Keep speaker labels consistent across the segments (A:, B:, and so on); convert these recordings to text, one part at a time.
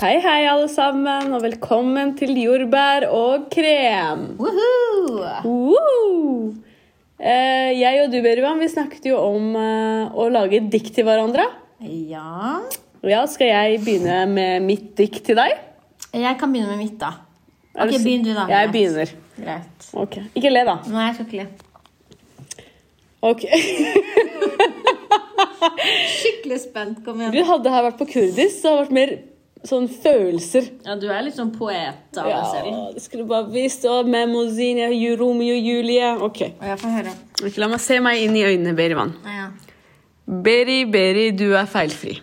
A: Hei, hei, alle sammen, og velkommen til Jordbær og krem.
B: Woohoo!
A: Woo! Eh, Jeg og du, Berivan, vi snakket jo om eh, å lage dikt til hverandre.
B: Ja
A: Og Ja, skal jeg begynne med mitt dikt til deg?
B: Jeg kan begynne med mitt, da.
A: Er
B: Ok,
A: si-
B: begynn du, da.
A: Jeg
B: Greit.
A: begynner.
B: Greit.
A: Ok, Ikke le, da.
B: Nei, jeg skal ikke le.
A: Ok.
B: Skikkelig spent. Kom igjen.
A: Du hadde her vært på kurdisk, så hadde det vært mer sånn følelser.
B: Ja, du er litt sånn poet av deg selv.
A: Ja, det skulle bare visst. Og Memozine, Romeo og Julie. Ok.
B: Og jeg får høre.
A: Ok, La meg se meg inn i øynene, Berivan.
B: Ja.
A: Beri, Beri, du er feilfri.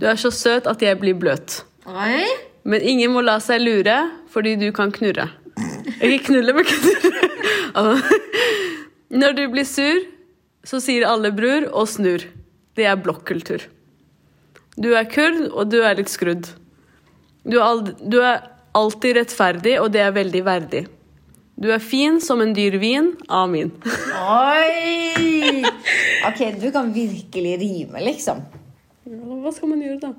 A: Du er så søt at jeg blir bløt.
B: Oi!
A: Men ingen må la seg lure, fordi du kan knurre. Ikke knulle, men knurre. Altså, Når du blir sur, så sier alle bror og snur. Det er blokkultur. Du er kurd, og du er litt skrudd. Du er, ald du er alltid rettferdig, og det er veldig verdig. Du er fin som en dyr vin. Amin.
B: Oi! Ok, du kan virkelig rime, liksom.
A: Hva skal man gjøre, da?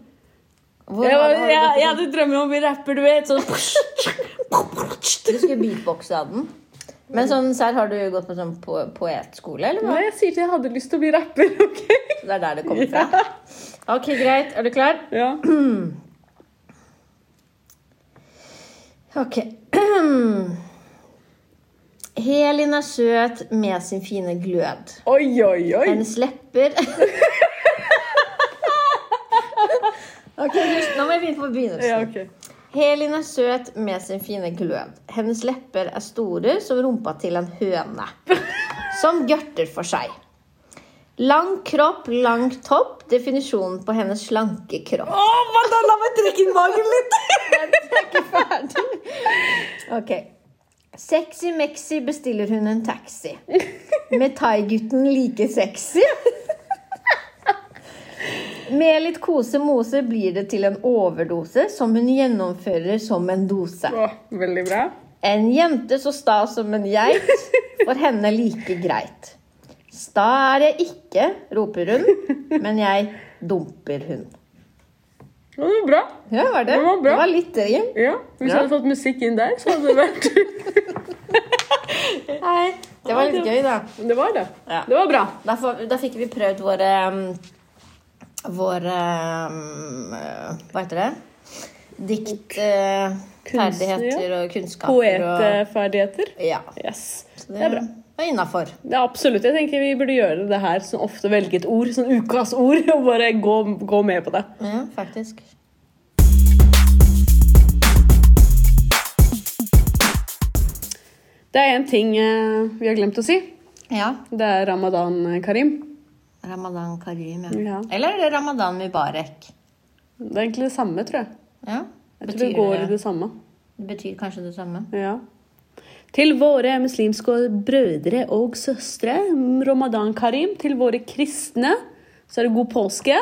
B: Hvor
A: Jeg,
B: har du-
A: var,
B: har du
A: jeg,
B: gått
A: jeg
B: på
A: hadde drømmer om å bli rapper, du vet.
B: sånn-
A: Sånn.
B: Du skulle beatboxe av den. Men sånn, serr, har du gått på sånn po poetskole, eller hva?
A: Nei, jeg sier ikke jeg hadde lyst til å bli rapper, OK?
B: Det er der det kommer fra. Ok, greit. Er du klar?
A: Ja.
B: Ok. Helin er søt med sin fine glød.
A: Oi, oi, oi.
B: Hennes lepper Ok, først, Nå må jeg begynne på begynnelsen.
A: Ja, ok.
B: Helin er søt med sin fine glød. Hennes lepper er store som rumpa til en høne. Som gørter for seg. Lang kropp, lang topp. Definisjonen på hennes slanke kropp.
A: Å, men da la meg trekke inn magen litt!
B: Ok. Sexy Mexi bestiller hun en taxi. Med thaigutten like sexy. Med litt kose-mose blir det til en overdose som hun gjennomfører som en dose.
A: Å, veldig bra.
B: En jente så sta som en geit, for henne like greit. Sta er jeg ikke, roper hun, men jeg dumper hun.
A: Ja, det var bra.
B: Ja, var det?
A: Det var bra.
B: det var litt rim.
A: Ja, Hvis jeg
B: Ja.
A: hadde fått musikk inn der, så hadde det vært
B: Nei, det var litt gøy, da.
A: Det var det.
B: Ja.
A: Det var bra.
B: Da, får- da fikk vi prøvd våre um, Våre um, eh, Hva heter det? Dikt, eh,
A: Kunst,
B: ferdigheter og kunnskaper. og,
A: Poetferdigheter.
B: ja,
A: Yes.
B: så
A: Det er bra.
B: var innafor.
A: Det er absolutt. Jeg tenker Vi burde gjøre det her, sånn ofte velge et ord, sånn ukas ord, og bare gå, gå med på det.
B: Ja, faktisk.
A: Det er én ting eh, vi har glemt å si.
B: Ja.
A: Det er ramadan, eh, Karim.
B: Ramadan Karim, ja.
A: Ja.
B: Eller er det Ramadan Mubarek?
A: Det er egentlig det samme, tror jeg.
B: Ja.
A: Jeg tror det går i
B: det,
A: det samme.
B: det betyr kanskje det samme.
A: Ja. Til våre muslimske brødre og søstre, ramadan karim. Til våre kristne så er det god påske.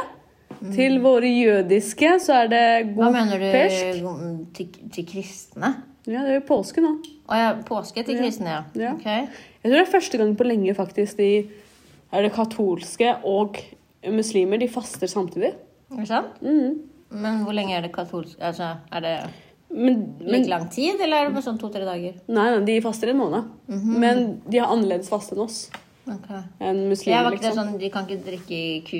A: Til våre jødiske så er det
B: Mm. Hva
A: god
B: mener du
A: fersk.
B: mm, til, til kristne?
A: Ja, det er jo påske nå.
B: Å ja, påske til kristne, ja.
A: Ja.
B: Ok.
A: Jeg tror det er første gang på lenge faktisk de er det katolske og muslimer de faster samtidig.
B: Er det sant?
A: Mm.
B: Men hvor lenge er det katolsk Altså, er det
A: Men, men
B: like lang tid, eller er det bare sånn to-tre dager?
A: Nei, nei, de faster en måned.
B: Mhm.
A: Men de har annerledes faste enn oss.
B: Ok.
A: Enn
B: Ja,
A: muslimer,
B: var ikke det
A: liksom.
B: sånn, De kan ikke drikke ku...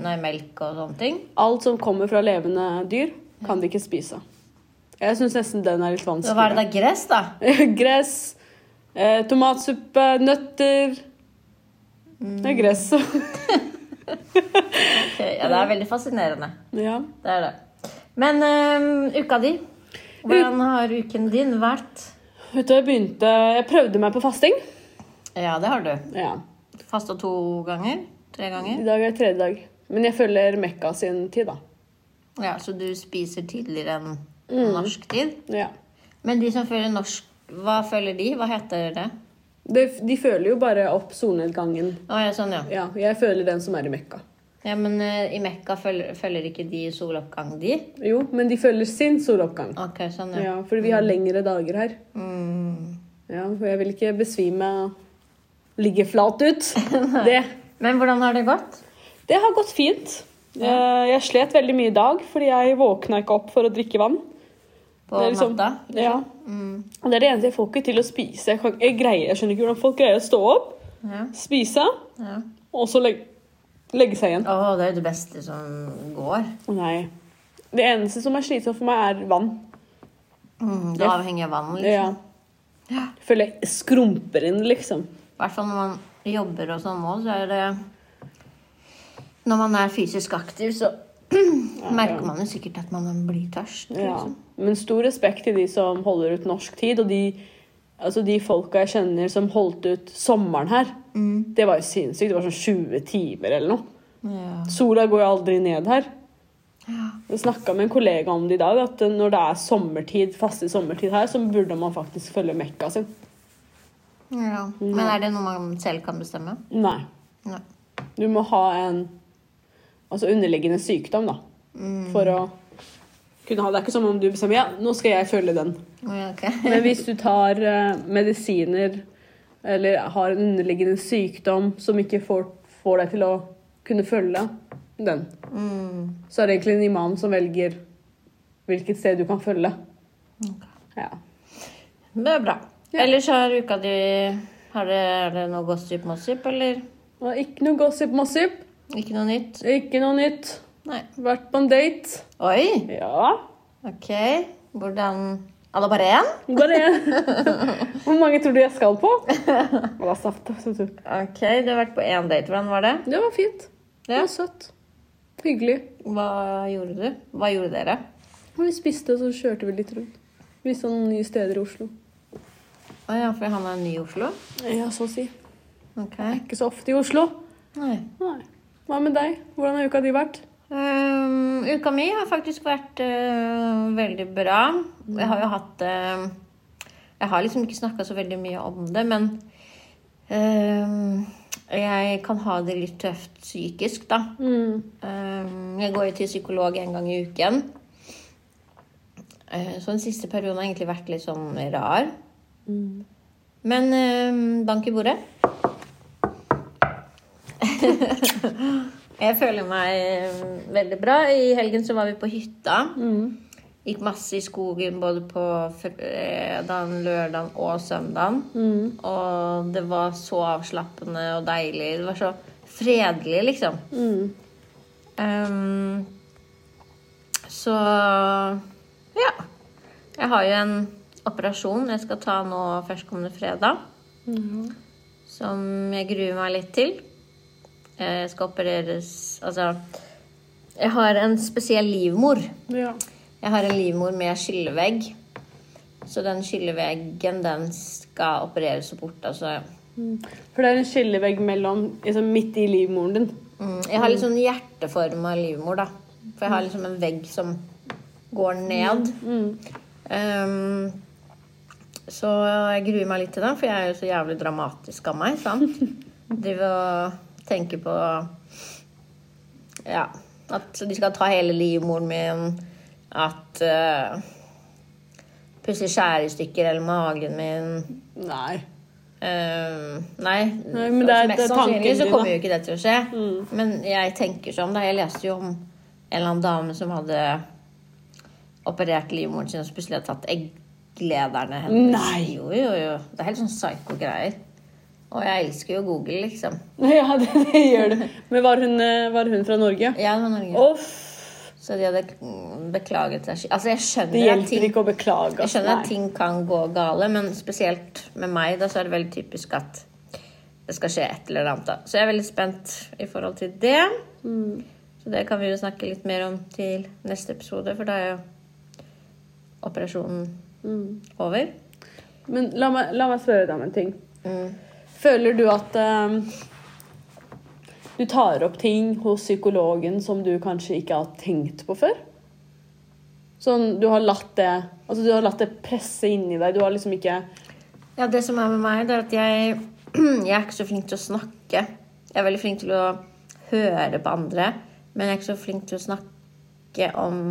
B: Nei, melk og sånne ting?
A: Alt som kommer fra levende dyr, kan de ikke spise. Jeg syns nesten den er litt
B: Så hva er
A: vanskelig.
B: det da? Gress, da?
A: Gress, eh, tomatsuppe, nøtter Det er gress.
B: Ok, Ja, Det er veldig fascinerende.
A: ja.
B: Det er det. Men øhm, uka di? Hvordan har uken din vært?
A: Vet du, jeg begynte Jeg prøvde meg på fasting.
B: Ja, det har du.
A: Ja.
B: Fasta to ganger? Tre
A: I
B: ganger?
A: dag er tredje dag. Men jeg følger Mekka sin tid, da.
B: Ja, Så du spiser tidligere enn norsk tid?
A: Ja.
B: Men de som følger norsk, hva følger de? Hva heter det?
A: De, de føler jo bare opp solnedgangen.
B: Å, ja, sånn, ja.
A: Ja, jeg føler den som er i Mekka.
B: Ja, men eh, i Mekka følger, følger ikke de soloppgang, de?
A: Jo, men de følger sin soloppgang.
B: Ok, sånn, ja.
A: Ja, fordi vi har lengre dager her.
B: Mm.
A: Ja, for jeg vil ikke besvime ligge flat ut. Det,
B: Men hvordan har det gått?
A: det har gått fint. Eh, Jeg slet veldig mye i dag, fordi jeg våkna ikke opp for å drikke vann.
B: På
A: Det er liksom-
B: natta. Mm.
A: Ja. Og det er det eneste jeg får ikke til å spise. Jeg, kan, jeg, greier, jeg skjønner ikke hvordan folk greier å stå opp,
B: Ja.
A: spise,
B: Ja.
A: og så legge, legge seg igjen.
B: Å, det er jo det beste som går.
A: Nei. Det eneste som er slitsomt for meg, er vann.
B: Mm, det avhenger av vannet. Liksom.
A: Ja. Jeg føler jeg skrumper inn, liksom.
B: I hvert fall når man jobber og sånn nå, så er det Når man er fysisk aktiv, så merker man jo sikkert at man blir tørst.
A: Ja.
B: Liksom.
A: Men stor respekt til de som holder ut norsk tid, og de, altså de folka jeg kjenner som holdt ut sommeren her. Det var jo sinnssykt. Det var sånn 20 timer eller noe.
B: Ja.
A: Sola går jo aldri ned her. Jeg snakka med en kollega om det i dag, at når det er sommertid, faste sommertid her, så burde man faktisk følge Mekka sin.
B: Ja. Men er det noe man selv kan bestemme?
A: Nei.
B: Nei.
A: Du må ha en altså underliggende sykdom, da. For å kunne ha Det er ikke som om du bestemmer ja, nå skal jeg følge den.
B: Ja, ok.
A: Men hvis du tar eh, medisiner eller har en underliggende sykdom som ikke får, får deg til å kunne følge den, så er det egentlig en imam som velger hvilket sted du kan følge. Ja.
B: Men Det er bra. Ellers har uka di har det, Er det noe gossip-mossip, eller?
A: Og ikke noe gossip-mossip.
B: Ikke noe nytt?
A: Ikke noe nytt.
B: Nei.
A: Vært på en date.
B: Oi!
A: Ja.
B: Ok. Hvordan Alle bare én?
A: Bare Hvor mange tror du jeg skal på? Det var saft, vet du.
B: Ok, du har vært på én date. Hvordan var det?
A: Det var fint. Det var søtt. Hyggelig.
B: Hva gjorde du? Hva gjorde dere?
A: Og vi spiste, og så kjørte vi litt rundt. Viste noen nye steder i Oslo.
B: Å ja, for han er ny i Oslo?
A: Ja, så å si.
B: Ok.
A: Ikke så ofte i Oslo.
B: Nei.
A: Nei. Hva med deg? Hvordan har uka di vært?
B: Ehm, uka mi har faktisk vært eh, veldig bra. Jeg har jo hatt eh, Jeg har liksom ikke snakka så veldig mye om det, men ehm, jeg kan ha det litt tøft psykisk, da.
A: Mm,
B: Ehm, jeg går jo til psykolog en gang i uken. Eh, så den siste perioden har egentlig vært litt sånn rar. Men ehm, bank i bordet. Jeg føler meg eh, veldig bra. I helgen så var vi på hytta.
A: mm,
B: Gikk masse i skogen både på fredagen, lørdagen og søndagen.
A: mm,
B: Og det var så avslappende og deilig. Det var så fredelig, liksom.
A: mm.
B: Ehm, så ja. Jeg har jo en operasjon jeg skal ta nå førstkommende fredag. Som jeg gruer meg litt til. Eh, Jeg skal opereres Altså, jeg har en spesiell livmor.
A: Ja.
B: Jeg har en livmor med skillevegg. Så den skilleveggen, den skal opereres bort. Altså.
A: Mm. For det er en skillevegg mellom liksom, midt i livmoren din.
B: Mm, Jeg har litt sånn hjerteform av livmor, da. For jeg har liksom en vegg som går ned. Um, så jeg gruer meg litt til det, for jeg er jo så jævlig dramatisk av meg. sant? Driver og tenker på Ja. At de skal ta hele livmoren min. At uh, Plutselig skjære i stykker hele magen min.
A: Nei.
B: Ehm, nei,
A: Nei, men det er-
B: mest
A: det Mm. er tanken
B: sannsynlig så
A: din,
B: kommer
A: da.
B: jo ikke det til å skje. Men jeg tenker sånn, da. Jeg leste jo om en eller annen dame som hadde operert livmoren sin og så plutselig hadde tatt egglederne hennes.
A: Nei.
B: Jo, jo, jo. Det er helt sånn psyko-greier. Og jeg elsker jo Google, liksom.
A: Ja, det, det gjør du. Men var hun, eh, var hun fra Norge?
B: Jeg var Norge.
A: Uff.
B: Så de hadde mm, beklaget seg. skik- Altså, jeg
A: Det
B: skjønner at
A: hjelper
B: ting
A: ikke å beklage. altså.
B: Jeg
A: ass.
B: skjønner at
A: Nei.
B: ting kan gå gale, men spesielt med meg da, så er det veldig typisk at det skal skje et eller annet. da. Så jeg er veldig spent i forhold til det.
A: Mm.
B: Så det kan vi jo snakke litt mer om til neste episode, for da er jo operasjonen over.
A: Men la meg, la meg spørre deg om en ting. Føler du at eh, du tar opp ting hos psykologen som du kanskje ikke har tenkt på før? Sånn, du har latt det, altså, du har latt det presse inni deg. Du har liksom ikke
B: Ja, det som er med meg, det er at jeg, jeg er ikke så flink til å snakke. Jeg er veldig flink til å høre på andre, men jeg er ikke så flink til å snakke om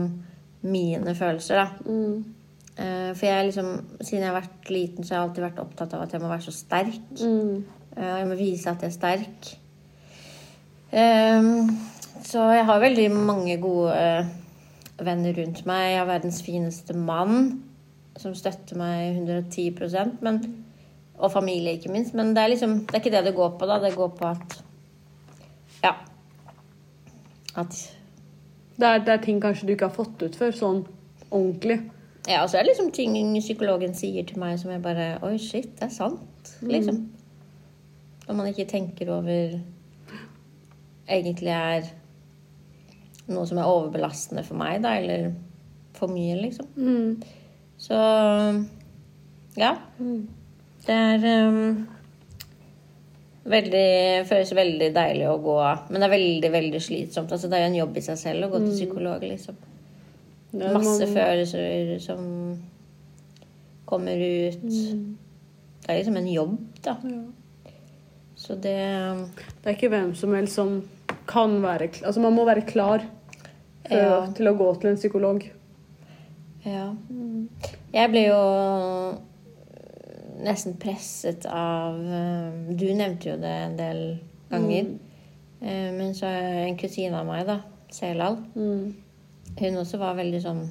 B: mine følelser, da. Eh, For jeg er liksom, siden jeg har vært liten, så har jeg alltid vært opptatt av at jeg må være så sterk. Eh, Og jeg må vise at jeg er sterk. Ehm, Så jeg har veldig mange gode eh, venner rundt meg. Jeg har verdens fineste mann som støtter meg 110 men, og familie, ikke minst. Men det er liksom Det er ikke det det går på, da. Det går på at Ja. At
A: Det er, det er ting kanskje du ikke har fått ut før, sånn ordentlig.
B: Ja, og så er det liksom ting psykologen sier til meg som jeg bare Oi, shit, det er sant. Liksom. Når man ikke tenker over Egentlig er noe som er overbelastende for meg, da, eller for mye, liksom. Så ja. Det er ehm, veldig Føles veldig deilig å gå Men det er veldig, veldig slitsomt. Altså, det er jo en jobb i seg selv å gå til psykolog, liksom.
A: Det er
B: Masse
A: man-
B: følelser som kommer ut. Det er liksom en jobb, da. Så det
A: Det er ikke hvem som helst som kan være kl- Altså, man må være klar for,
B: Ja.
A: til å gå til en psykolog.
B: Ja. Jeg ble jo nesten presset av eh, Du nevnte jo det en del ganger. Eh, Men så er en kusine av meg, da, Selal, Mm. hun også var veldig sånn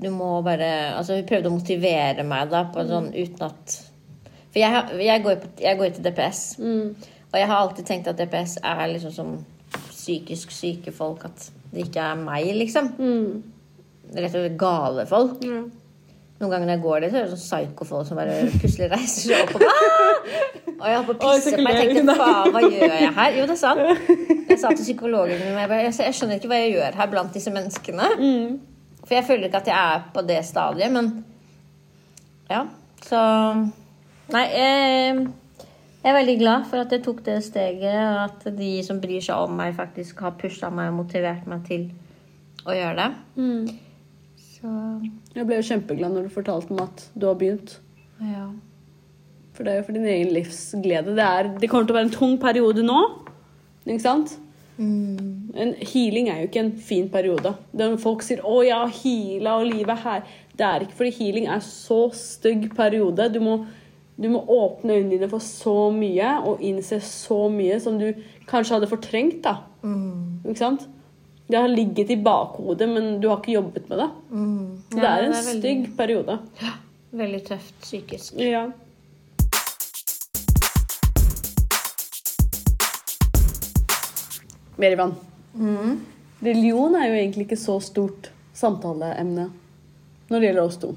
B: Du må bare Altså, hun prøvde å motivere meg, da, på en sånn uten at For jeg, har- jeg, går, på, jeg går til DPS. Og jeg har alltid tenkt at DPS er liksom som psykisk syke folk. At det ikke er meg, liksom. Rett og slett gale folk. Noen ganger når jeg går dit, så er det sånn psyko-folk som bare plutselig reiser seg opp og «Ah!» Og jeg holdt på å
A: Oi,
B: pisse
A: så
B: på meg. Jeg
A: klør hun
B: tenkte
A: der.
B: faen, hva gjør jeg her? Jo, det er sant. Jeg sa til psykologen min jeg, bare, jeg skjønner ikke hva jeg gjør her blant disse menneskene.
A: Mm.
B: For jeg føler ikke at jeg er på det stadiet, men ja. Så Nei, eh, jeg er veldig glad for at jeg tok det steget, og at de som bryr seg om meg, faktisk har pusha meg og motivert meg til å gjøre det. Så
A: Mm. Jeg ble jo kjempeglad når du fortalte meg at du har begynt.
B: ja.
A: For det er jo for din egen livsglede. Det, er, det kommer til å være en tung periode nå. Ikke sant?
B: Mm.
A: En healing er jo ikke en fin periode. Den folk sier 'Å, jeg har heala, og livet er her'. Det er ikke fordi healing er så stygg periode. Du må, du må åpne øynene dine for så mye og innse så mye som du kanskje hadde fortrengt. da. Ikke sant? Det har ligget i bakhodet, men du har ikke jobbet med det. Så det
B: Ja,
A: er en
B: det er veldig-
A: stygg periode.
B: Veldig tøft psykisk.
A: Ja. Merivan.
B: Mm.
A: Religion er jo egentlig ikke så stort samtaleemne når det gjelder oss to.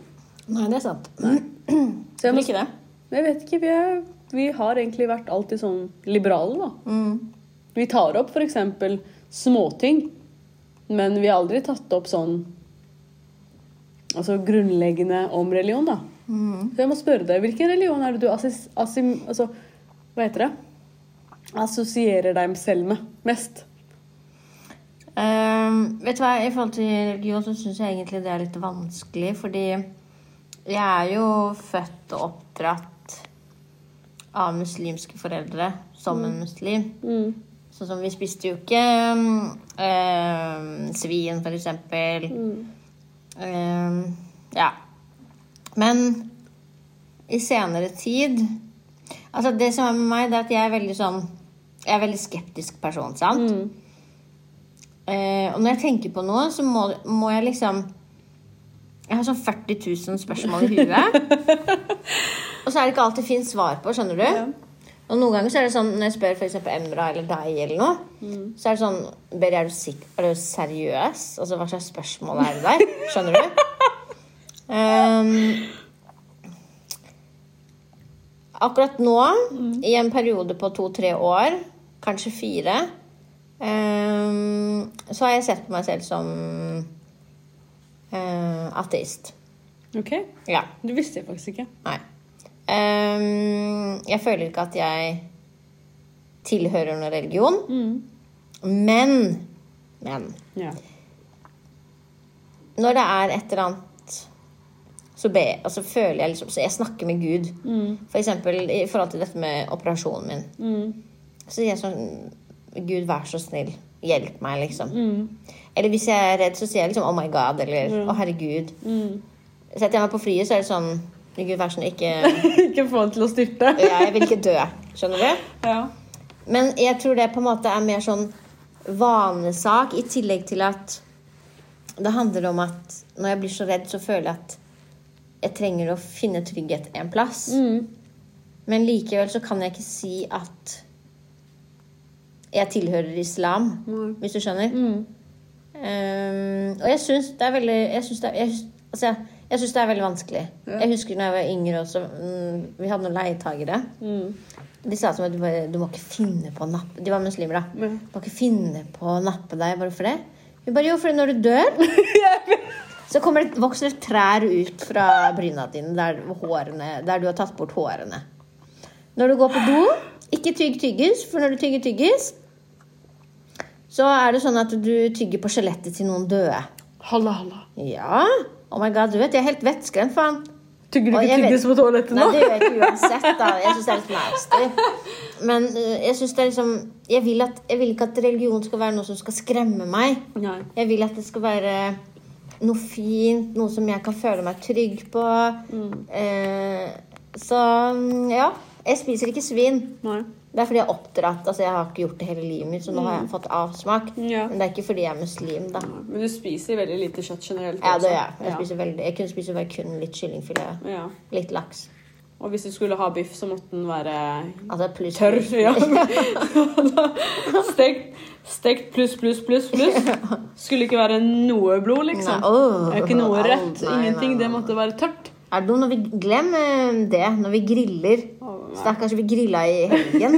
B: Nei, det er sant.
A: Så jeg, må,
B: Mm, det.
A: jeg vet ikke, vi, er, vi har egentlig vært alltid sånn liberale, da.
B: Mm.
A: Vi tar opp f.eks. småting, men vi har aldri tatt opp sånn Altså grunnleggende om religion, da.
B: Mm.
A: Så jeg må spørre deg, hvilken religion er det du assis, assim, altså, hva heter det? assosierer deg selv med mest?
B: Ehm, vet du hva, I forhold til religion så syns jeg egentlig det er litt vanskelig, fordi jeg er jo født og oppdratt av muslimske foreldre som en muslim.
A: Mm.
B: Sånn som vi spiste jo ikke mm, eh, svin, for eksempel. Eh, ja. Men i senere tid Altså, det som er med meg, det er at jeg er veldig sånn Jeg er en veldig skeptisk person, sant? Eh, og når jeg tenker på noe, så må, må jeg liksom Jeg har sånn 40 000 spørsmål i huet. og så er det ikke alt det fins svar på, skjønner du? Og noen ganger så er det sånn når jeg spør f.eks. Emra eller deg eller noe, så er det sånn Beri, er du, sikk- er du seriøs? Altså, hva slags spørsmål er det der? Skjønner du? Ehm, akkurat nå, i en periode på to-tre år, kanskje fire, ehm, så har jeg sett på meg selv som eh, ateist.
A: Ok,
B: Ja.
A: Det visste jeg faktisk ikke.
B: Nei. Ehm, jeg føler ikke at jeg tilhører noen religion. Mm. Men Men
A: Ja.
B: når det er et eller annet så, be, altså føler jeg liksom Så jeg snakker med Gud.
A: Mm.
B: For eksempel i forhold til dette med operasjonen min. Så sier jeg sånn Gud, vær så snill. Hjelp meg, liksom.
A: Mm.
B: Eller hvis jeg er redd, så sier jeg liksom Oh my God, eller Å, herregud.
A: Mm.
B: Setter jeg meg på flyet, så er det sånn Gud, vær så snill, ikke
A: ikke få det til å styrte.
B: Jeg vil ikke dø. Skjønner du?
A: Ja.
B: Men jeg tror det på en måte er mer sånn vanesak, i tillegg til at det handler om at når jeg blir så redd, så føler jeg at jeg trenger å finne trygghet en plass.
A: Mm.
B: Men likevel så kan jeg ikke si at jeg tilhører islam, hvis du skjønner. Ehm, og jeg syns det er veldig Jeg syns det, er- jeg, syns- altså, jeg, jeg syns det er veldig vanskelig. Jeg husker når jeg var yngre også, mm, vi hadde noen leietagere.
A: Mm.
B: De sa til meg du, bare, du må ikke finne på å nappe De var muslimer, da. Du må ikke finne på å nappe deg. Bare for det. Vi bare, jo, for når du dør, så kommer det, vokser det trær ut fra bryna dine der, hårene, der du har tatt bort hårene. Når du går på do, ikke tygg tyggis, for når du tygger tyggis, så er det sånn at du tygger på skjelettet til noen døde.
A: Halla, halla.
B: Ja. Oh my god, du vet, jeg er helt vettskremt, faen.
A: Tygger du
B: Og
A: ikke
B: jeg vet-
A: tyggis på toalettet nå?
B: Nei, det gjør jeg ikke uansett, da. Jeg syns det er litt nasty. Men eh, jeg synes det er liksom jeg vil, at, jeg vil ikke at religion skal være noe som skal skremme meg.
A: Nei.
B: Jeg vil at det skal være noe fint, noe som jeg kan føle meg trygg på. Eh, så mm, ja. Jeg spiser ikke svin.
A: Nei.
B: Det er fordi jeg er oppdratt. Altså, jeg har ikke gjort det hele livet mitt, så nå har jeg fått avsmak.
A: Ja.
B: Men det er ikke fordi jeg er muslim, da.
A: Men du spiser veldig lite kjøtt generelt. altså.
B: Ja,
A: også.
B: det gjør jeg. Jeg, spiser veldig, jeg kunne spise bare kun litt kyllingfilet.
A: Ja.
B: Litt laks.
A: Og hvis du skulle ha biff, så måtte den være
B: Altså pluss
A: tørr. Ja. stekt, stekt pluss, pluss, pluss, pluss. Skulle ikke være noe blod, liksom.
B: Nei, åh.
A: Det er ikke noe
B: Au,
A: rødt.
B: nei,
A: Ingenting.
B: nei,
A: Det måtte være tørt.
B: Er det noe når vi glemmer det når vi griller? Stakkars, vi grilla i helgen.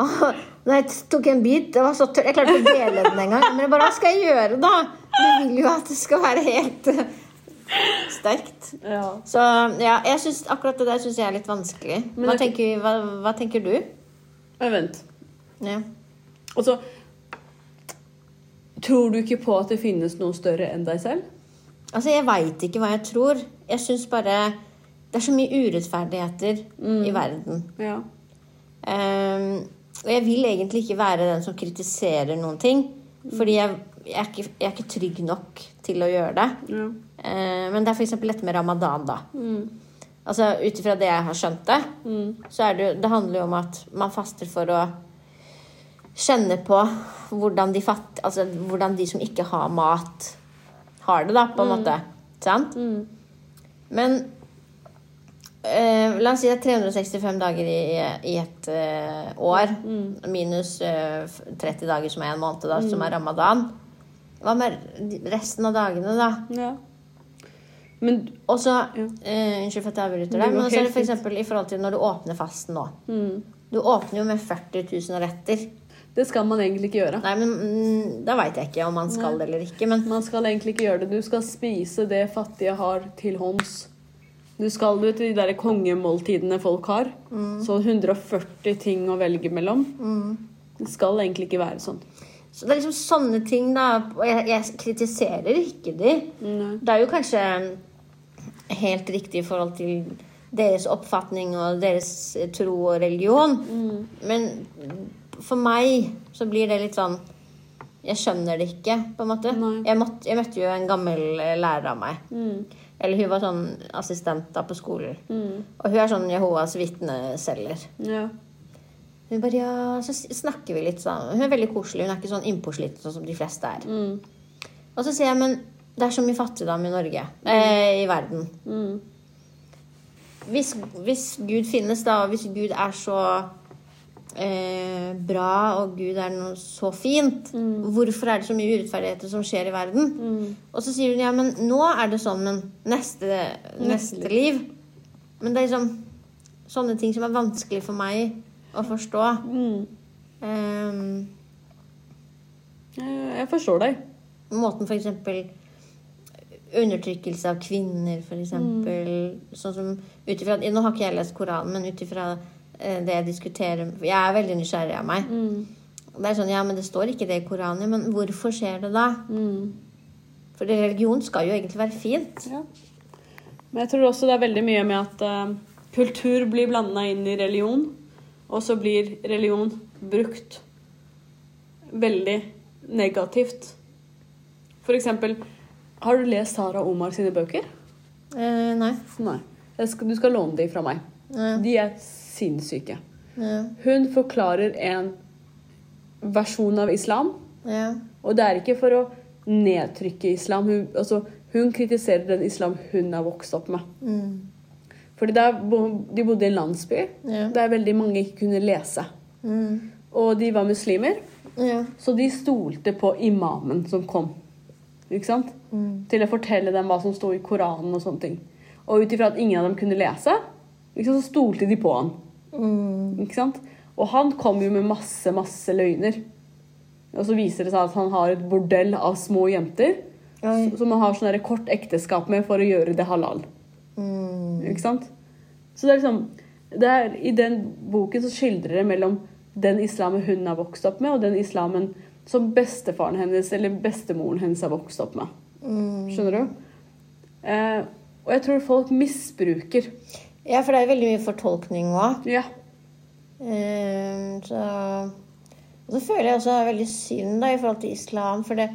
B: Åh, Når jeg tok en bit, det var så tørr. Jeg klarte ikke å dele den engang. Men jeg bare, hva skal jeg gjøre, da? Jeg vil jo at det skal være helt eh, sterkt.
A: Ja.
B: Så ja, jeg synes, akkurat det der syns jeg er litt vanskelig. Hva
A: det-
B: tenker, hva, hva tenker du?
A: Men vent.
B: Ja.
A: Og så Tror du ikke på at det finnes noe større enn deg selv?
B: Altså, jeg veit ikke hva jeg tror. Jeg syns bare Det er så mye urettferdigheter
A: Mm.
B: i verden.
A: Ja.
B: Ehm, og jeg vil egentlig ikke være den som kritiserer noen ting. Fordi jeg, jeg, er ikke, jeg er ikke trygg nok til å gjøre det.
A: ja.
B: Eh, men det er f.eks. dette med ramadan, da.
A: Mm,
B: Altså ut ifra det jeg har skjønt det, så er det jo Det handler jo om at man faster for å kjenne på hvordan de fatt, Altså hvordan de som ikke har mat, har det, da, på en måte. Sant?
A: mm,
B: Men eh, la oss si det er 365 dager i, i et eh, år
A: mm.
B: minus eh, 30 dager, som er en måned, da, som er ramadan. Hva med resten av dagene, da?
A: ja. Men
B: Og så eh, Unnskyld for at jeg avbryter deg,
A: Det går
B: men så er
A: helt
B: det for eksempel i forhold til når du åpner fasten nå.
A: Mm.
B: Du åpner jo med 40 000 retter.
A: det skal man egentlig ikke gjøre.
B: Nei, men mm, da veit jeg ikke om man skal det eller ikke, men
A: Man skal egentlig ikke gjøre det. Du skal spise det fattige har til hånds. Du skal ut i de der kongemåltidene folk har. Så 140 ting å velge mellom. Det skal egentlig ikke være sånn.
B: Så det er liksom sånne ting, da. Og jeg, jeg kritiserer ikke de. Det er jo kanskje helt riktig i forhold til deres oppfatning og deres tro og religion. Men for meg så blir det litt sånn Jeg skjønner det ikke, på en måte. Jeg, måtte, jeg møtte jo en gammel eh, lærer av meg. Eller hun var sånn assistent da på skolen. Og hun er sånn Jehovas vitneselger.
A: Mm. Ja.
B: Hun bare, ja, så s- snakker vi litt sammen. Hun er veldig koselig. Hun er ikke sånn innpåsliten sånn som de fleste er.
A: Mm.
B: Og så sier jeg, men det er så mye fattigdom i Norge. Eh, I verden.
A: Mm.
B: Hvis, hvis Gud finnes, da, og hvis Gud er så eh, bra, og Gud er noe så fint,
A: Mm.
B: hvorfor er det så mye urettferdigheter som skjer i verden? Og så sier hun, ja, men nå er det sånn, men neste, neste liv Men det er liksom sånne ting som er vanskelig for meg å forstå.
A: Mm.
B: Ehm,
A: Eh, Jeg forstår deg.
B: måten for eksempel undertrykkelse av kvinner, for eksempel. Sånn som ut ifra Nå har ikke jeg lest Koranen, men ut ifra eh, det jeg diskuterer for Jeg er veldig nysgjerrig av meg.
A: Mm.
B: Det er sånn, ja, men det står ikke det i Koranen, men hvorfor skjer det da?
A: Mm.
B: For religion skal jo egentlig være fint.
A: Ja. Men jeg tror også det er veldig mye med at eh, kultur blir blanda inn i religion, og så blir religion brukt veldig negativt. For eksempel, har du lest Sara Omar sine bøker?
B: Eh, nei.
A: Nei. Jeg skal, du skal låne de fra meg. De er sinnssyke.
B: Ja.
A: Hun forklarer en versjon av islam
B: Ja.
A: Og det er ikke for å nedtrykke islam. Hun, altså, hun kritiserer den islam hun har vokst opp med.
B: Mm.
A: Fordi der, bo- De bodde i en landsby
B: Ja.
A: der veldig mange ikke kunne lese.
B: Mm.
A: Og de var muslimer,
B: Ja.
A: så de stolte på imamen som kom. Ikke sant?
B: Mm.
A: Til å fortelle dem hva som sto i Koranen og sånne ting. Og ut ifra at ingen av dem kunne lese, ikke sant, så stolte de på han.
B: Mm.
A: Ikke sant? Og han kom jo med masse, masse løgner. Og så viser det seg at han har et bordell av små jenter
B: Oi.
A: som han har sånn der kort ekteskap med for å gjøre det halal.
B: Mm.
A: Ikke sant? Så det er liksom det er, I den boken så skildrer det mellom den islamen hun har vokst opp med, og den islamen som bestefaren hennes eller bestemoren hennes har vokst opp med.
B: mm.
A: Skjønner du? Eh, og jeg tror folk misbruker.
B: Ja, for det er veldig mye fortolkning òg.
A: Ja.
B: Ehm, så Og så føler jeg også det er veldig synd da, i forhold til islam, for det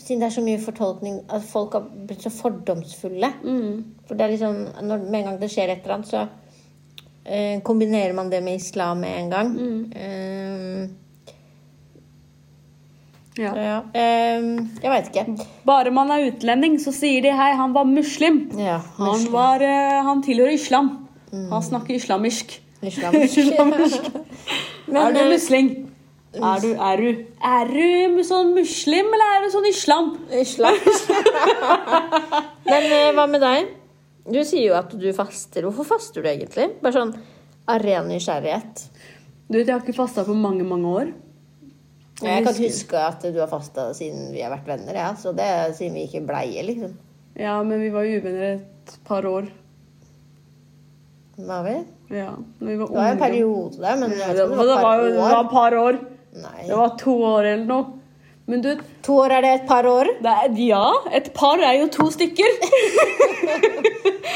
B: siden det er så mye fortolkning at folk har blitt så fordomsfulle.
A: Mm,
B: For det er liksom når, Med en gang det skjer et eller annet, så eh, kombinerer man det med islam med en gang.
A: mm,
B: Eh,
A: ja.
B: så ja. Eh, jeg veit ikke.
A: Bare man er utlending, så sier de hei, han var muslim.
B: Ja,
A: Han, var, eh, han tilhører islam. Han snakker islamisk.
B: Islamisk.
A: er
B: Men
A: du
B: eh,
A: musling? Er du, er du Er du sånn muslim, eller er du sånn islam?
B: Islam. Men eh, hva med deg? Du sier jo at du faster. Hvorfor faster du egentlig? Bare sånn av ren nysgjerrighet.
A: Du vet, Jeg har ikke fasta på mange, mange år.
B: Jeg kan huske at du har fasta siden vi har vært venner, ja. Så det er siden vi ikke bleie, liksom.
A: Ja, men vi var jo uvenner et par år.
B: Var vi?
A: Ja, når vi var
B: Det var en
A: unge.
B: periode der, men
A: Ja, det,
B: jeg vet ikke om det
A: var
B: var
A: jo
B: et
A: det var
B: par
A: et
B: år.
A: par år. Det
B: Nei.
A: var to år eller noe. Men du vet,
B: To år er det et par år?
A: det er, ja, et par er jo to stykker.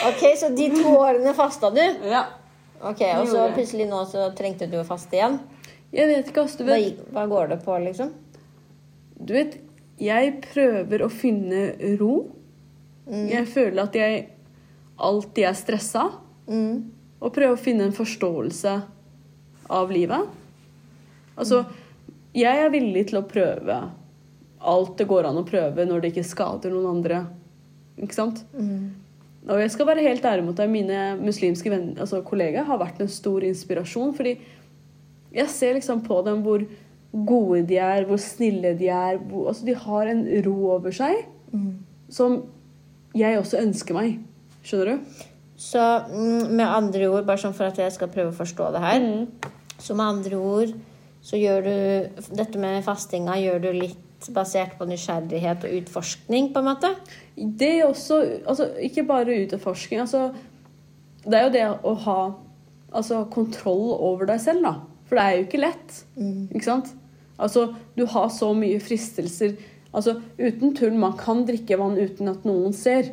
B: Ok, så de to årene fasta du?
A: Ja.
B: Ok, Og så
A: gjorde jeg.
B: plutselig nå så trengte du å faste igjen?
A: Jeg vet ikke, ass. Du
B: Hva,
A: vet,
B: gikk- hva går det på, liksom?
A: Du vet, jeg prøver å finne ro. Jeg føler at jeg alltid er stressa.
B: Mm.
A: Og prøver å finne en forståelse av livet. Altså, jeg er villig til å prøve alt det går an å prøve når det ikke skader noen andre. Ikke sant? Og jeg skal være helt ærlig mot deg, mine muslimske venner, altså kollegaer har vært en stor inspirasjon. fordi jeg ser liksom på dem hvor gode de er, hvor snille de er. Hvor, altså, de har en ro over seg som jeg også ønsker meg. Skjønner du?
B: Så mm, med andre ord, bare sånn for at jeg skal prøve å forstå det her Så med andre ord så gjør du dette med fastinga gjør du litt basert på nysgjerrighet og utforskning, på en måte?
A: Det er også altså, Ikke bare utforsking. Altså, det er jo det å ha altså, kontroll over deg selv, da. For det er jo ikke lett. Ikke sant? Altså, du har så mye fristelser. Altså, uten tull, man kan drikke vann uten at noen ser.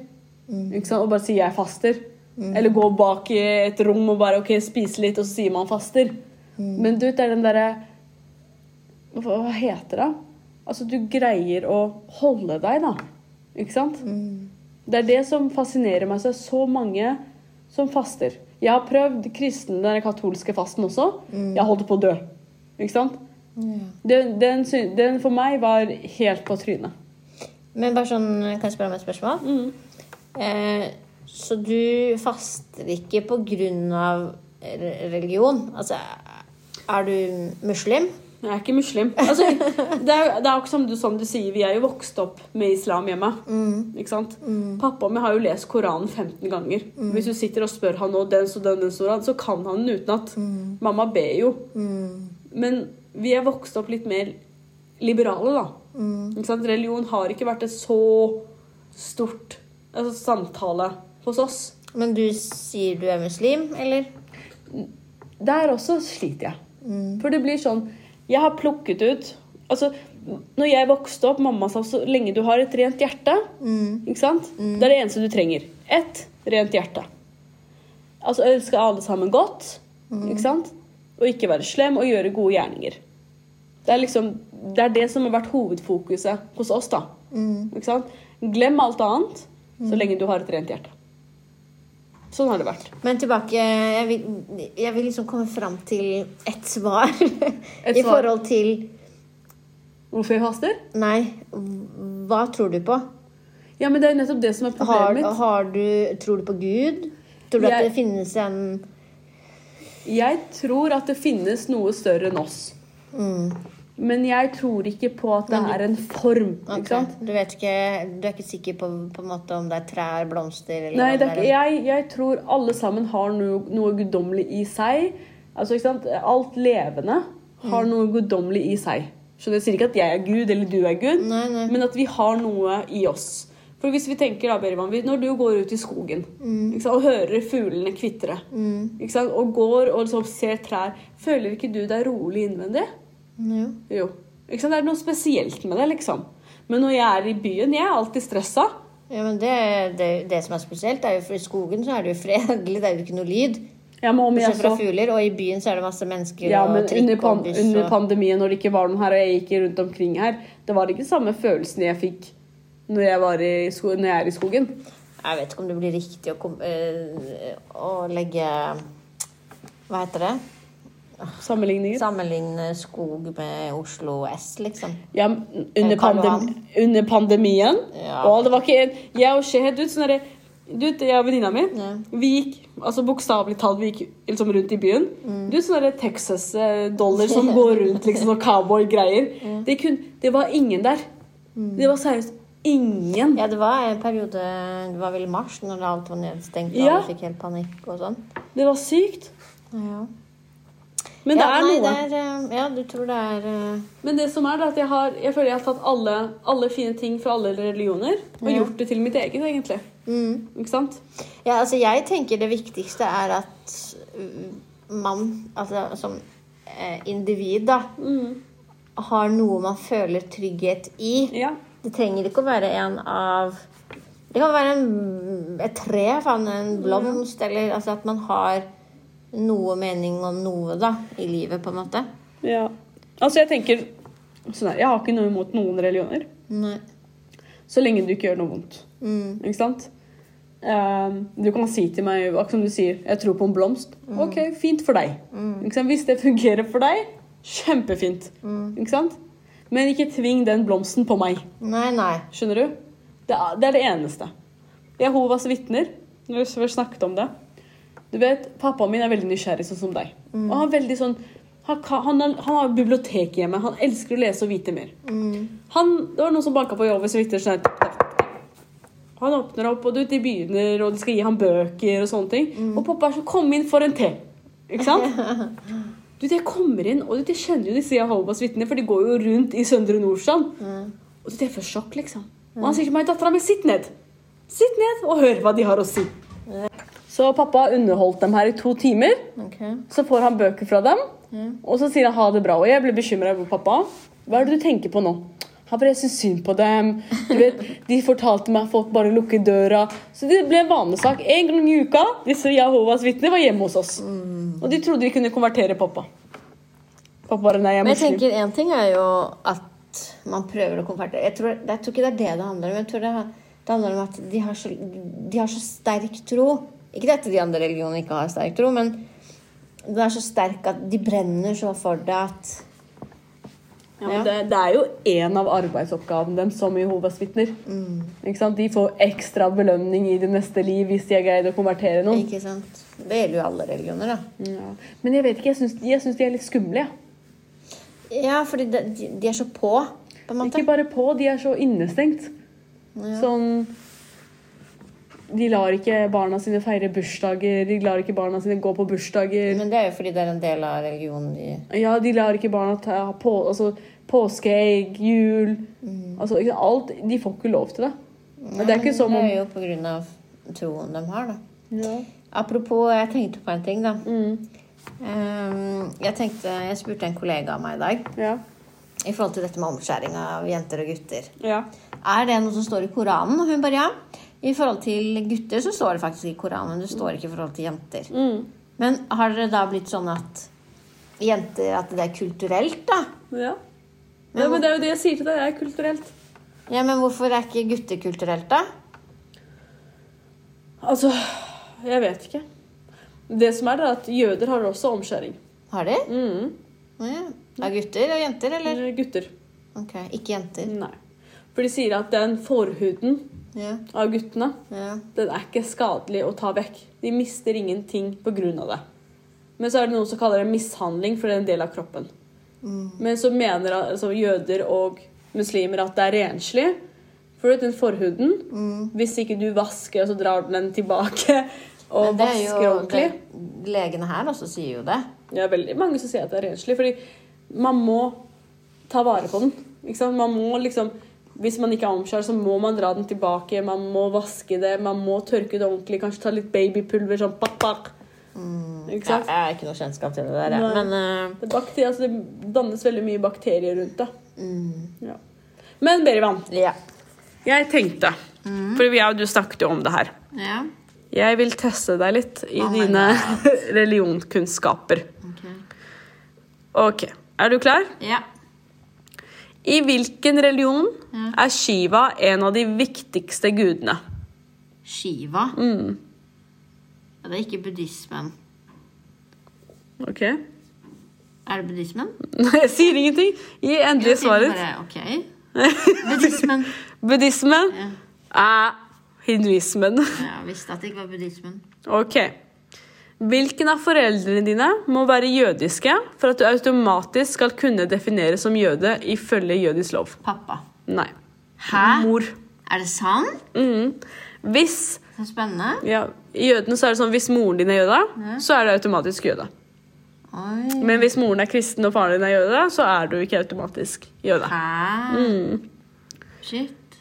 A: Ikke sant? Og bare si 'jeg faster'. Eller gå bak i et rom og bare ok, spise litt, og så sier man 'faster'. Men du vet, det er den derre hva, hva heter det? Altså, du greier å holde deg, da. Ikke sant? Det er det som fascinerer meg. Så, det er så mange som faster. Jeg har prøvd kristen, den der katolske fasten også. Jeg holdt på å dø. Ikke sant? Den, den, syn- den for meg var helt på trynet.
B: Men bare sånn, kan jeg spørre om et spørsmål?
A: Mm.
B: Eh, så du faster ikke på grunn av re- religion? Altså, er du muslim?
A: Jeg er ikke muslim. Altså, det er det er jo ikke som du, som du sier, vi er jo vokst opp med islam hjemme. Ikke sant? Pappa og meg har jo lest Koranen 15 ganger. Hvis du sitter og spør han nå den og den, den, den, så kan han den utenat. Mamma ber jo. Men vi er vokst opp litt mer liberale, da. Ikke sant? Religion har ikke vært et så stort altså, samtale hos oss.
B: Men du sier du er muslim, eller?
A: Der også sliter jeg. For det blir sånn Jeg har plukket ut Altså, når jeg vokste opp, mamma sa så lenge du har et rent hjerte Ikke sant? Det er det eneste du trenger. Ett rent hjerte. Altså ønske alle sammen godt. Ikke sant? Og ikke være slem og gjøre gode gjerninger. Det er liksom Det er det som har vært hovedfokuset hos oss, da. Ikke sant? Glem alt annet så lenge du har et rent hjerte. Sånn har det vært.
B: Men tilbake Jeg vil, jeg vil liksom komme fram til ett svar.
A: Et
B: I
A: svar.
B: forhold til
A: Hvorfor jeg haster?
B: Nei, hva tror du på?
A: Ja, men det er nettopp det som er
B: Har,
A: problemet mitt.
B: har du, tror du på Gud? Tror du at
A: Jeg-
B: det finnes en
A: Jeg tror at det finnes noe større enn oss. Mm. Men jeg tror ikke på at det er en form.
B: Ok,
A: Ikke sant?
B: Du vet ikke, du er ikke sikker på, på en måte om det er trær, blomster eller
A: Nei,
B: om
A: det er, ikke-
B: en-
A: jeg, jeg tror alle sammen har noe, noe guddommelig i seg. Altså, ikke sant? Alt levende har noe guddommelig i seg. Så det sier ikke at jeg er Gud eller du er Gud,
B: Nei, nei.
A: men at vi har noe i oss. For hvis vi tenker da, Berivan, vi- Når du går ut i skogen ikke sant, og hører fuglene kvitre
B: Mm,
A: ikke sant, og går og liksom ser trær, føler ikke du deg rolig innvendig?
B: Jo.
A: Jo. Ikke sant? Det er noe spesielt med det, liksom. Men når jeg er i byen, jeg er alltid stressa.
B: Ja, men det, det, det som er spesielt, er jo for i skogen så er det jo fredelig, det er jo ikke noe lyd.
A: Ja, men om jeg
B: Bortsett fra
A: så-
B: fugler, og i byen så er det masse mennesker
A: Ja, men
B: og trikk
A: under, pan
B: og buss
A: under
B: og
A: pandemien, når det ikke var noen her, og jeg gikk rundt omkring her, det var ikke samme følelsen jeg fikk når jeg, var i sko når jeg er i skogen.
B: Jeg vet ikke om det blir riktig å, kom, eh, å legge Hva heter det?
A: Ah. Sammenligninger.
B: Sammenligne skog med Oslo S, liksom.
A: Ja, men under,
B: Karl
A: pandem under pandemien.
B: Ja.
A: Og det var ikke en Jeg og Shehed, du vet, sånn derre- du vet, jeg og venninna mi,
B: Ja.
A: vi gikk altså bokstavelig talt vi gikk liksom rundt i byen.
B: Mm.
A: Du vet sånne derre Texas-dollar som går rundt, liksom, og cowboy-greier. Det, kun- det var ingen der. Det var seriøst ingen.
B: Mm. Ja, det var en periode Det var vel i mars, når alt var nedstengt og
A: Ja.
B: alle fikk helt panikk og sånn.
A: Det var sykt.
B: Ja.
A: Men det
B: ja,
A: er
B: nei,
A: noe.
B: det er, eh, ja, du tror det er eh,
A: Men det som er, det er at jeg, har, jeg føler jeg har tatt alle, alle fine ting fra alle religioner og gjort det til mitt eget, egentlig.
B: mm.
A: Ikke sant?
B: Ja, altså, jeg tenker det viktigste er at mm, man, altså som eh, individ, da, Mm. har noe man føler trygghet i.
A: Ja.
B: Det trenger ikke å være en av Det kan være en, et tre, faen, en blomst, eller altså at man har noe mening om noe, da, i livet, på en måte.
A: ja. Altså, jeg tenker sånn her, Jeg har ikke noe imot noen religioner.
B: Nei.
A: Så lenge du ikke gjør noe vondt.
B: Mm.
A: Ikke sant? Ehm, du kan si til meg, akkurat som du sier, 'jeg tror på en blomst'. Ok, fint for deg.
B: mm,
A: Ikke sant? Hvis det fungerer for deg, kjempefint.
B: mm.
A: Ikke sant? Men ikke tving den blomsten på meg.
B: Nei, nei.
A: Skjønner du? Det er det, er det eneste. Jehovas vitner, når vi først snakket om det Du vet, Pappaen min er veldig nysgjerrig, sånn som deg. Og han er veldig sånn han, ka- han, har- han har bibliotek hjemme. Han elsker å lese og vite mer.
B: Mm,
A: Han, det var noen som banka på Jehovas vitner. Sånn her, tap, tap, tap. han åpner opp, og du, vet, de begynner, og de skal gi ham bøker og sånne ting. Og pappa er sånn 'Kom inn for en te'. Ikke sant? Du, vet, jeg kommer inn, og du, vet, jeg kjenner jo disse Jehovas vitner, for de går jo rundt i Søndre Nordstrand. Og du, vet, jeg får sjokk, liksom. Og han sier til meg, dattera mi, sitt ned. Sitt ned og hør hva de har å si. Så pappa har underholdt dem her i to timer.
B: Ok.
A: Så får han bøker fra dem, og så sier han ha det bra. Og jeg blir bekymra over pappa. Hva er det du tenker på nå? Han bare, jeg syns synd på dem. Du vet, de fortalte meg at folk bare lukker døra. Så det ble en vanesak. En gang i uka disse Jehovas vitner var hjemme hos oss. Og de trodde vi kunne konvertere pappa. Pappa bare nei, jeg er
B: Men jeg
A: muslim.
B: tenker én ting er jo at man prøver å konvertere. Jeg tror, jeg tror ikke det er det det handler om. Jeg tror det, det handler om at de har, så, de har så sterk tro. Ikke det at de andre religionene ikke har sterk tro, men den er så sterk at de brenner så for det at
A: Ja, men det, det er jo en av arbeidsoppgavene dem som Jehovas vitner. Ikke sant? De får ekstra belønning i det neste liv hvis de har greid å konvertere noen.
B: Ikke sant? Det gjelder jo alle religioner, da.
A: Ja. Men jeg vet ikke, jeg syns, jeg syns de er litt skumle. Ja.
B: Ja, fordi de, de, de er så på, på en måte.
A: Ikke bare på, de er så innestengt. Sånn De lar ikke barna sine feire bursdager, de lar ikke barna sine gå på bursdager.
B: Men det er jo fordi det er en del av religionen de
A: Ja, de lar ikke barna ta ha på, altså, påskeegg, jul Altså ikke sant, alt. De får ikke lov til det. Men det er ikke som
B: Det
A: om
B: er jo på grunn av troen de har, da.
A: ja.
B: Apropos, jeg tenkte på en ting, da. Ehm, jeg, tenkte, jeg spurte en kollega av meg i dag
A: Ja.
B: i forhold til dette med omskjæring av jenter og gutter.
A: ja.
B: Er det noe som står i Koranen? Og hun bare ja. I forhold til gutter så står det faktisk i Koranen, men det står ikke i forhold til jenter.
A: Mm.
B: Men har dere da blitt sånn at jenter At det er kulturelt, da?
A: Ja. ja, men det er jo det jeg sier til deg. Det er kulturelt.
B: Ja, Men hvorfor er ikke gutter kulturelt, da?
A: Altså, jeg vet ikke. Det som er, det er at jøder har også omskjæring.
B: Har de?
A: Mm.
B: Å ja. Av gutter og jenter, eller?
A: Gutter.
B: Ok, Ikke jenter.
A: Nei. For de sier at den forhuden
B: Ja.
A: av guttene,
B: ja.
A: den er ikke skadelig å ta vekk. De mister ingenting på grunn av det. Men så er det noen som kaller det mishandling, for det er en del av kroppen.
B: Mm.
A: Men så mener altså, jøder og muslimer at det er renslig. For du vet, den forhuden,
B: Mm.
A: hvis ikke du vasker, så drar den den tilbake og
B: Men det er
A: vasker
B: jo
A: ordentlig.
B: det- Legene her også sier jo det.
A: Det er veldig mange som sier at det er renslig, fordi man må ta vare på den. Ikke sant? Man må liksom Hvis man ikke er omskjært, så må man dra den tilbake, man må vaske det, man må tørke det ordentlig, kanskje ta litt babypulver sånn pak, pak. Mm, Ikke
B: Ja,
A: sant?
B: jeg har ikke noe kjennskap til det der, jeg.
A: Nei.
B: men eh,
A: Det, er bakterier, altså det dannes veldig mye bakterier rundt det. Ja. Men Berivan,
B: eh, ja.
A: jeg tenkte For jeg og du snakket jo om det her.
B: ja.
A: Jeg vil teste deg litt i
B: Oh my
A: dine religionskunnskaper. OK. Er du klar?
B: Ja.
A: I hvilken religion er Shiva en av de viktigste gudene?
B: Shiva.
A: Mm.
B: Ja, Det er ikke buddhismen.
A: Ok.
B: Er det buddhismen?
A: Jeg sier ingenting. Gi endelig
B: Jeg
A: svaret.
B: sier bare, ok. Buddhismen.
A: Buddhismen
B: Ja.
A: er hinduismen.
B: Jeg visste at det ikke var buddhismen.
A: Ok. Hvilken av foreldrene dine må være jødiske for at du automatisk skal kunne defineres som jøde ifølge jødisk lov?
B: Pappa.
A: Nei.
B: Hæ?
A: Mor.
B: Er det sant?
A: Mhm. Hvis
B: Så spennende.
A: ja, I jødene så er det sånn hvis moren din er jøde, så er du automatisk jøde.
B: Oi.
A: Men hvis moren er kristen og faren din er jøde, så er du ikke automatisk jøde.
B: Hæ?
A: Mm.
B: Shit.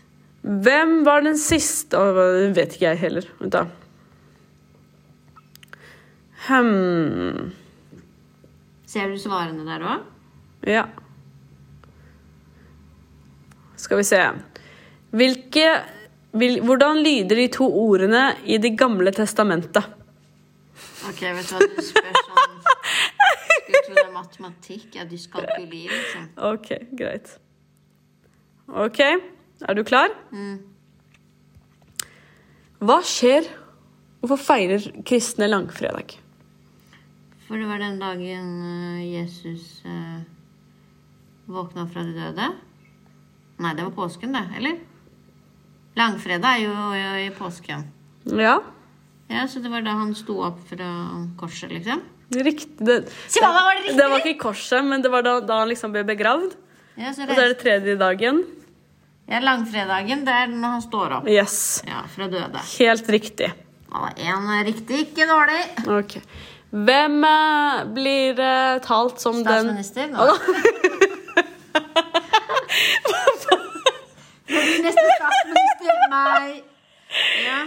A: Hvem var den siste Å, Det vet ikke jeg heller. Vent, da. Hm
B: Ser du svarene der òg?
A: Ja. Skal vi se Hvilke vil, Hvordan lyder de to ordene i Det gamle testamentet?
B: Ok, vet du hva du spør sånn Skulle tro det er matematikk. Ja, dyskalkuli, liksom.
A: OK, greit. OK, er du klar?
B: Mm.
A: Hva skjer Hvorfor feirer kristne langfredag?
B: For det var den dagen eh, Jesus eh, våkna fra de døde. Nei, det var påsken, det. Eller? Langfredag er jo i- i påsken.
A: Ja,
B: Ja, Så det var da han sto opp fra korset, liksom?
A: riktig. Det,
B: Si hva, hva var det riktig?
A: Det var ikke i korset, men det var da, da han liksom ble begravd.
B: Ja, så
A: Og så er
B: det,
A: det tredje dagen.
B: ja, langfredagen, det er når han står opp.
A: Yes.
B: Ja, fra døde.
A: Helt riktig.
B: Ja, Én riktig, ikke dårlig.
A: Ok. Hvem eh, blir eh, talt som den
B: Statsminister. Nå. Nå blir neste statsminister meg. Ja.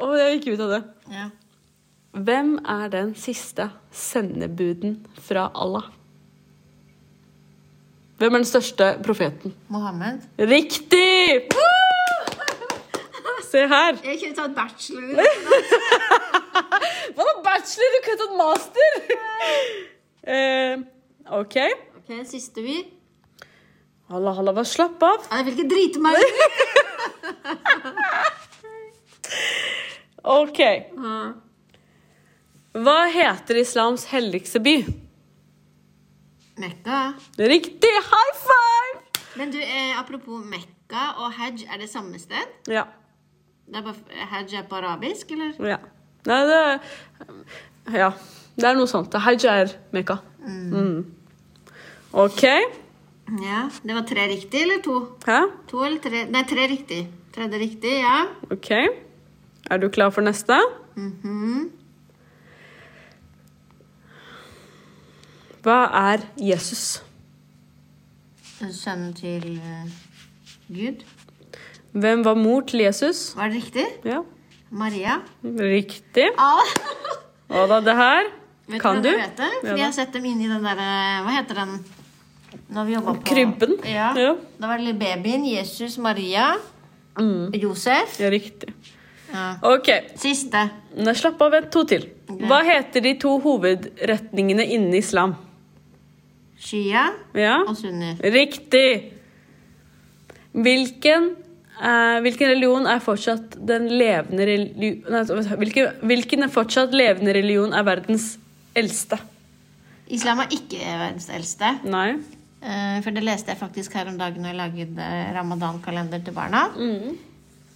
A: Å, jeg gikk ut av det.
B: ja.
A: Hvem er den siste sendebuden fra Allah? Hvem er den største profeten?
B: Mohammed.
A: Riktig! Se her.
B: Jeg kunne tatt bachelor.
A: Hva da, bachelor? Du kunne tatt master! Eh, OK.
B: Ok, Siste vi.
A: Halla, halla, bare slapp av.
B: Ja, Jeg vil ikke drite meg ut.
A: OK. Hva heter islams helligste by?
B: Mekka.
A: Riktig! High five!
B: Men du, eh, apropos Mekka og hajj, er det samme sted?
A: Ja.
B: Det er bare, hajj er på arabisk, eller?
A: ja. Nei, det er- Ja. Det er noe sånt. Hajj er Mekka. Mm. OK.
B: Ja. Det var tre riktig, eller to?
A: Hæ?
B: To eller tre? Nei, tre riktig. Tredje riktig, ja.
A: OK. Er du klar for neste?
B: Mhm.
A: Hva er Jesus?
B: Sønnen til eh, Gud.
A: Hvem var mor til Jesus?
B: Var det riktig?
A: Ja,
B: Maria.
A: riktig.
B: Ah.
A: Hva da, det her?
B: Vet
A: Kan
B: du?
A: du?
B: hva Vet det? Fordi
A: Ja da.
B: jeg har sett dem inni den derre Hva heter den? Når vi jobba på
A: Krybben?
B: Ja.
A: Ja.
B: Da var det lille babyen. Jesus, Maria,
A: Mm.
B: Josef.
A: Ja, riktig.
B: Ja.
A: Ok,
B: Siste.
A: nå slapp av, vent to til. Hva heter de to hovedretningene innen islam?
B: Shia
A: Ja,
B: og Sunni.
A: riktig. Hvilken, eh, hvilken religion er fortsatt den levende religion... Nei, altså, vent, hvilken, hvilken er fortsatt levende religion er verdens eldste?
B: Islam er ikke verdens eldste.
A: Nei.
B: Eh, For det leste jeg faktisk her om dagen når jeg lagde ramadankalender til barna.
A: Mm.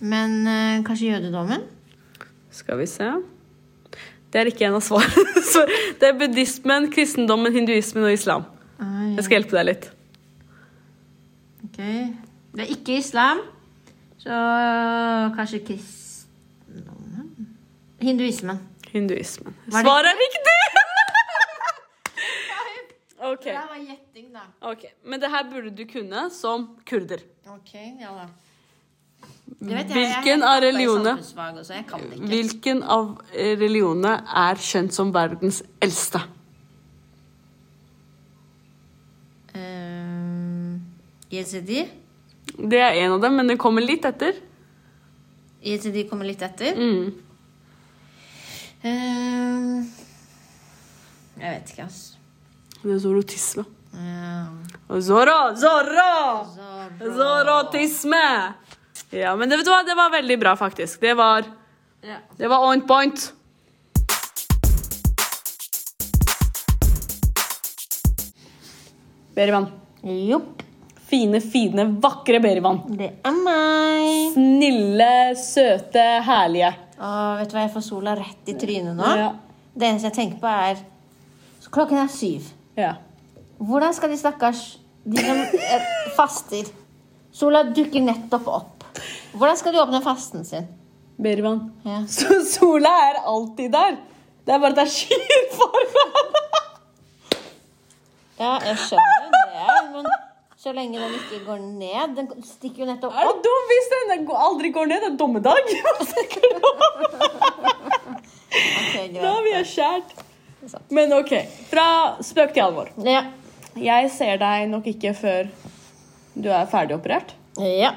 B: Men eh, kanskje jødedommen?
C: Skal vi se Det er ikke en av svarene. Så Det er buddhismen, kristendommen, hinduismen og islam.
B: Ai,
C: Jeg skal hjelpe deg litt.
B: ok. Det er ikke islam. Så kanskje kristendommen? Hinduismen.
C: Hinduismen.
B: Var det-
C: Svaret er riktig! OK.
B: Det her var gjetting, da.
C: ok. Men det her burde du kunne som kurder.
B: Ok, ja da.
C: Hvilken av religionene
B: Jeg kan det ikke.
C: Hvilken av eh, religionene er kjent som verdens eldste?
B: Eh, Yezidi.
C: Det er en av dem, men den kommer litt etter.
B: Yezidi kommer litt etter.
C: Mm.
B: Eh, jeg vet ikke, altså.
C: Det er zorotisme.
B: Uh,
C: Og Zoro! Zoro! Zorotisme! Ja, men det, vet du hva? det var veldig bra, faktisk. Det var,
B: Ja.
C: det var on point. Berivan.
B: Jopp.
A: Fine, fine, vakre Berivan.
B: Det er meg.
A: Snille, søte, herlige.
B: Åh, vet du hva, jeg får sola rett i trynet nå.
A: Ja.
B: Det eneste jeg tenker på, er Så Klokken er syv.
A: ja.
B: Hvordan skal de stakkars De som eh, faster Sola dukker nettopp opp. Hvordan skal de åpne fasten sin?
A: Berivan.
B: Ja.
A: Så sola er alltid der. Det er bare at det er skyer foran.
B: Ja, jeg skjønner jo det, men så lenge den ikke går ned Den stikker jo nettopp
A: Er
B: opp.
A: det dum hvis den går- aldri går ned? Det er dommedag. Hva tenker du om? Da
B: Ok, greit.
A: blir jeg skjært.
B: Det er sant.
A: Men OK. Fra spøk til alvor.
B: Ja.
A: Jeg ser deg nok ikke før du er ferdig operert.
B: Ja,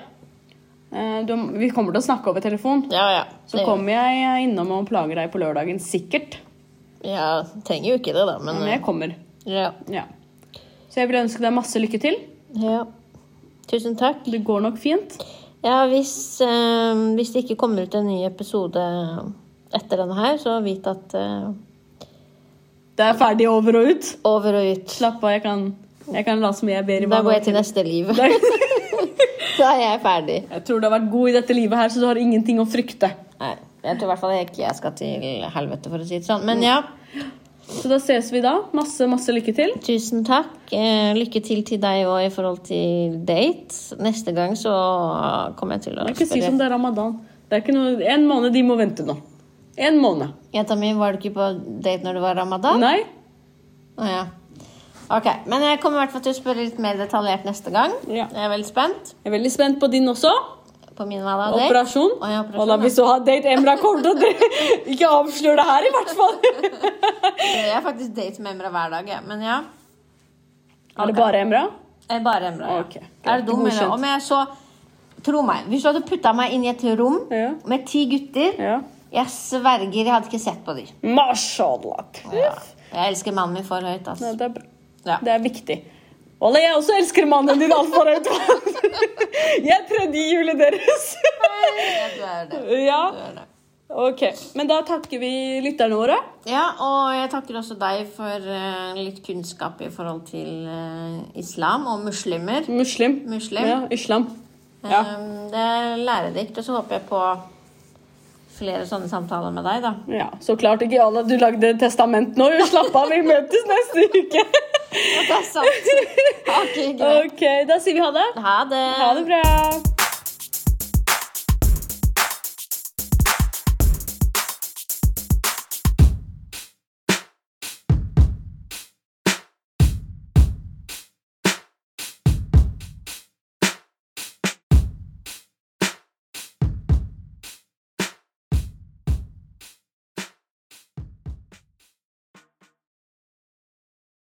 A: Eh, Du, vi kommer til å snakke over telefon.
B: ja. ja.
A: Så kommer jeg innom og plager deg på lørdagen, sikkert.
B: Ja, trenger jo ikke det, da, men
A: Men jeg kommer.
B: ja.
A: Ja. Så jeg vil ønske deg masse lykke til.
B: ja. Tusen takk.
A: Det går nok fint.
B: Ja, hvis, eh, hvis det ikke kommer ut en ny episode etter denne her, så vit at eh,
A: Det er ferdig over og ut.
B: over og ut.
A: Slapp av, jeg kan, jeg kan late som jeg ber i
B: Da går jeg til neste liv. da er jeg ferdig.
A: Jeg tror du har vært god i dette livet her, så du har ingenting å frykte.
B: Nei, jeg tror i hvert fall ikke jeg skal til helvete, for å si det sånn. Men ja,
A: Så da ses vi da. Masse, masse lykke til.
B: tusen takk. Eh, lykke til til deg òg i forhold til date. Neste gang så kommer jeg til å
A: Jeg kan ikke si som det er ramadan. Det er ikke noe, en måned de må vente nå. En måned.
B: Jenta mi, var du ikke på date når det var ramadan?
A: sånn- Nei?
B: Å ja. Ok, Men jeg kommer i hvert fall til å spørre litt mer detaljert neste gang.
A: Ja.
B: Jeg er veldig spent.
A: Jeg er veldig spent på din også.
B: På min hva da? date?
A: Operasjon.
B: Å, ja, operasjon,
A: Og da
B: ja.
A: vi så har date Emra kommer til å dre- Ikke avslør det her, i hvert fall.
B: Jeg er faktisk date med Emra hver dag, jeg. Men ja.
A: Er det bare Emra?
B: Jeg er bare Emra. ja.
A: Ok, greit.
B: Er det dum, eller?
A: Godkjent.
B: Om jeg så Tro meg, hvis du hadde putta meg inn i et rom
A: Ja.
B: med ti gutter
A: Ja.
B: Jeg sverger, jeg hadde ikke sett på dem.
A: Mashallah.
B: Ja. Jeg elsker mannen min for høyt,
A: Ja,
B: altså.
A: det er bra.
B: Ja.
A: Det er viktig. Olle, jeg også elsker mannen din altfor høyt. Jeg er tredje i hjulet deres.
B: Ja, du er det.
A: Ja,
B: Du er det.
A: ok. Men da takker vi lytterne våre.
B: Ja, og jeg takker også deg for eh, litt kunnskap i forhold til eh, islam og muslimer.
A: Muslim.
B: Muslim.
A: Ja, islam. Ja.
B: Um, det er lærerikt, og så håper jeg på flere sånne samtaler med deg, da.
A: Ja, så klart ikke Jana, du lagde testament nå. Slapp av, vi møtes neste uke.
B: Det er sant. Ok, greit.
A: Ok, da sier vi ha det.
B: Ha det.
A: Ha det bra.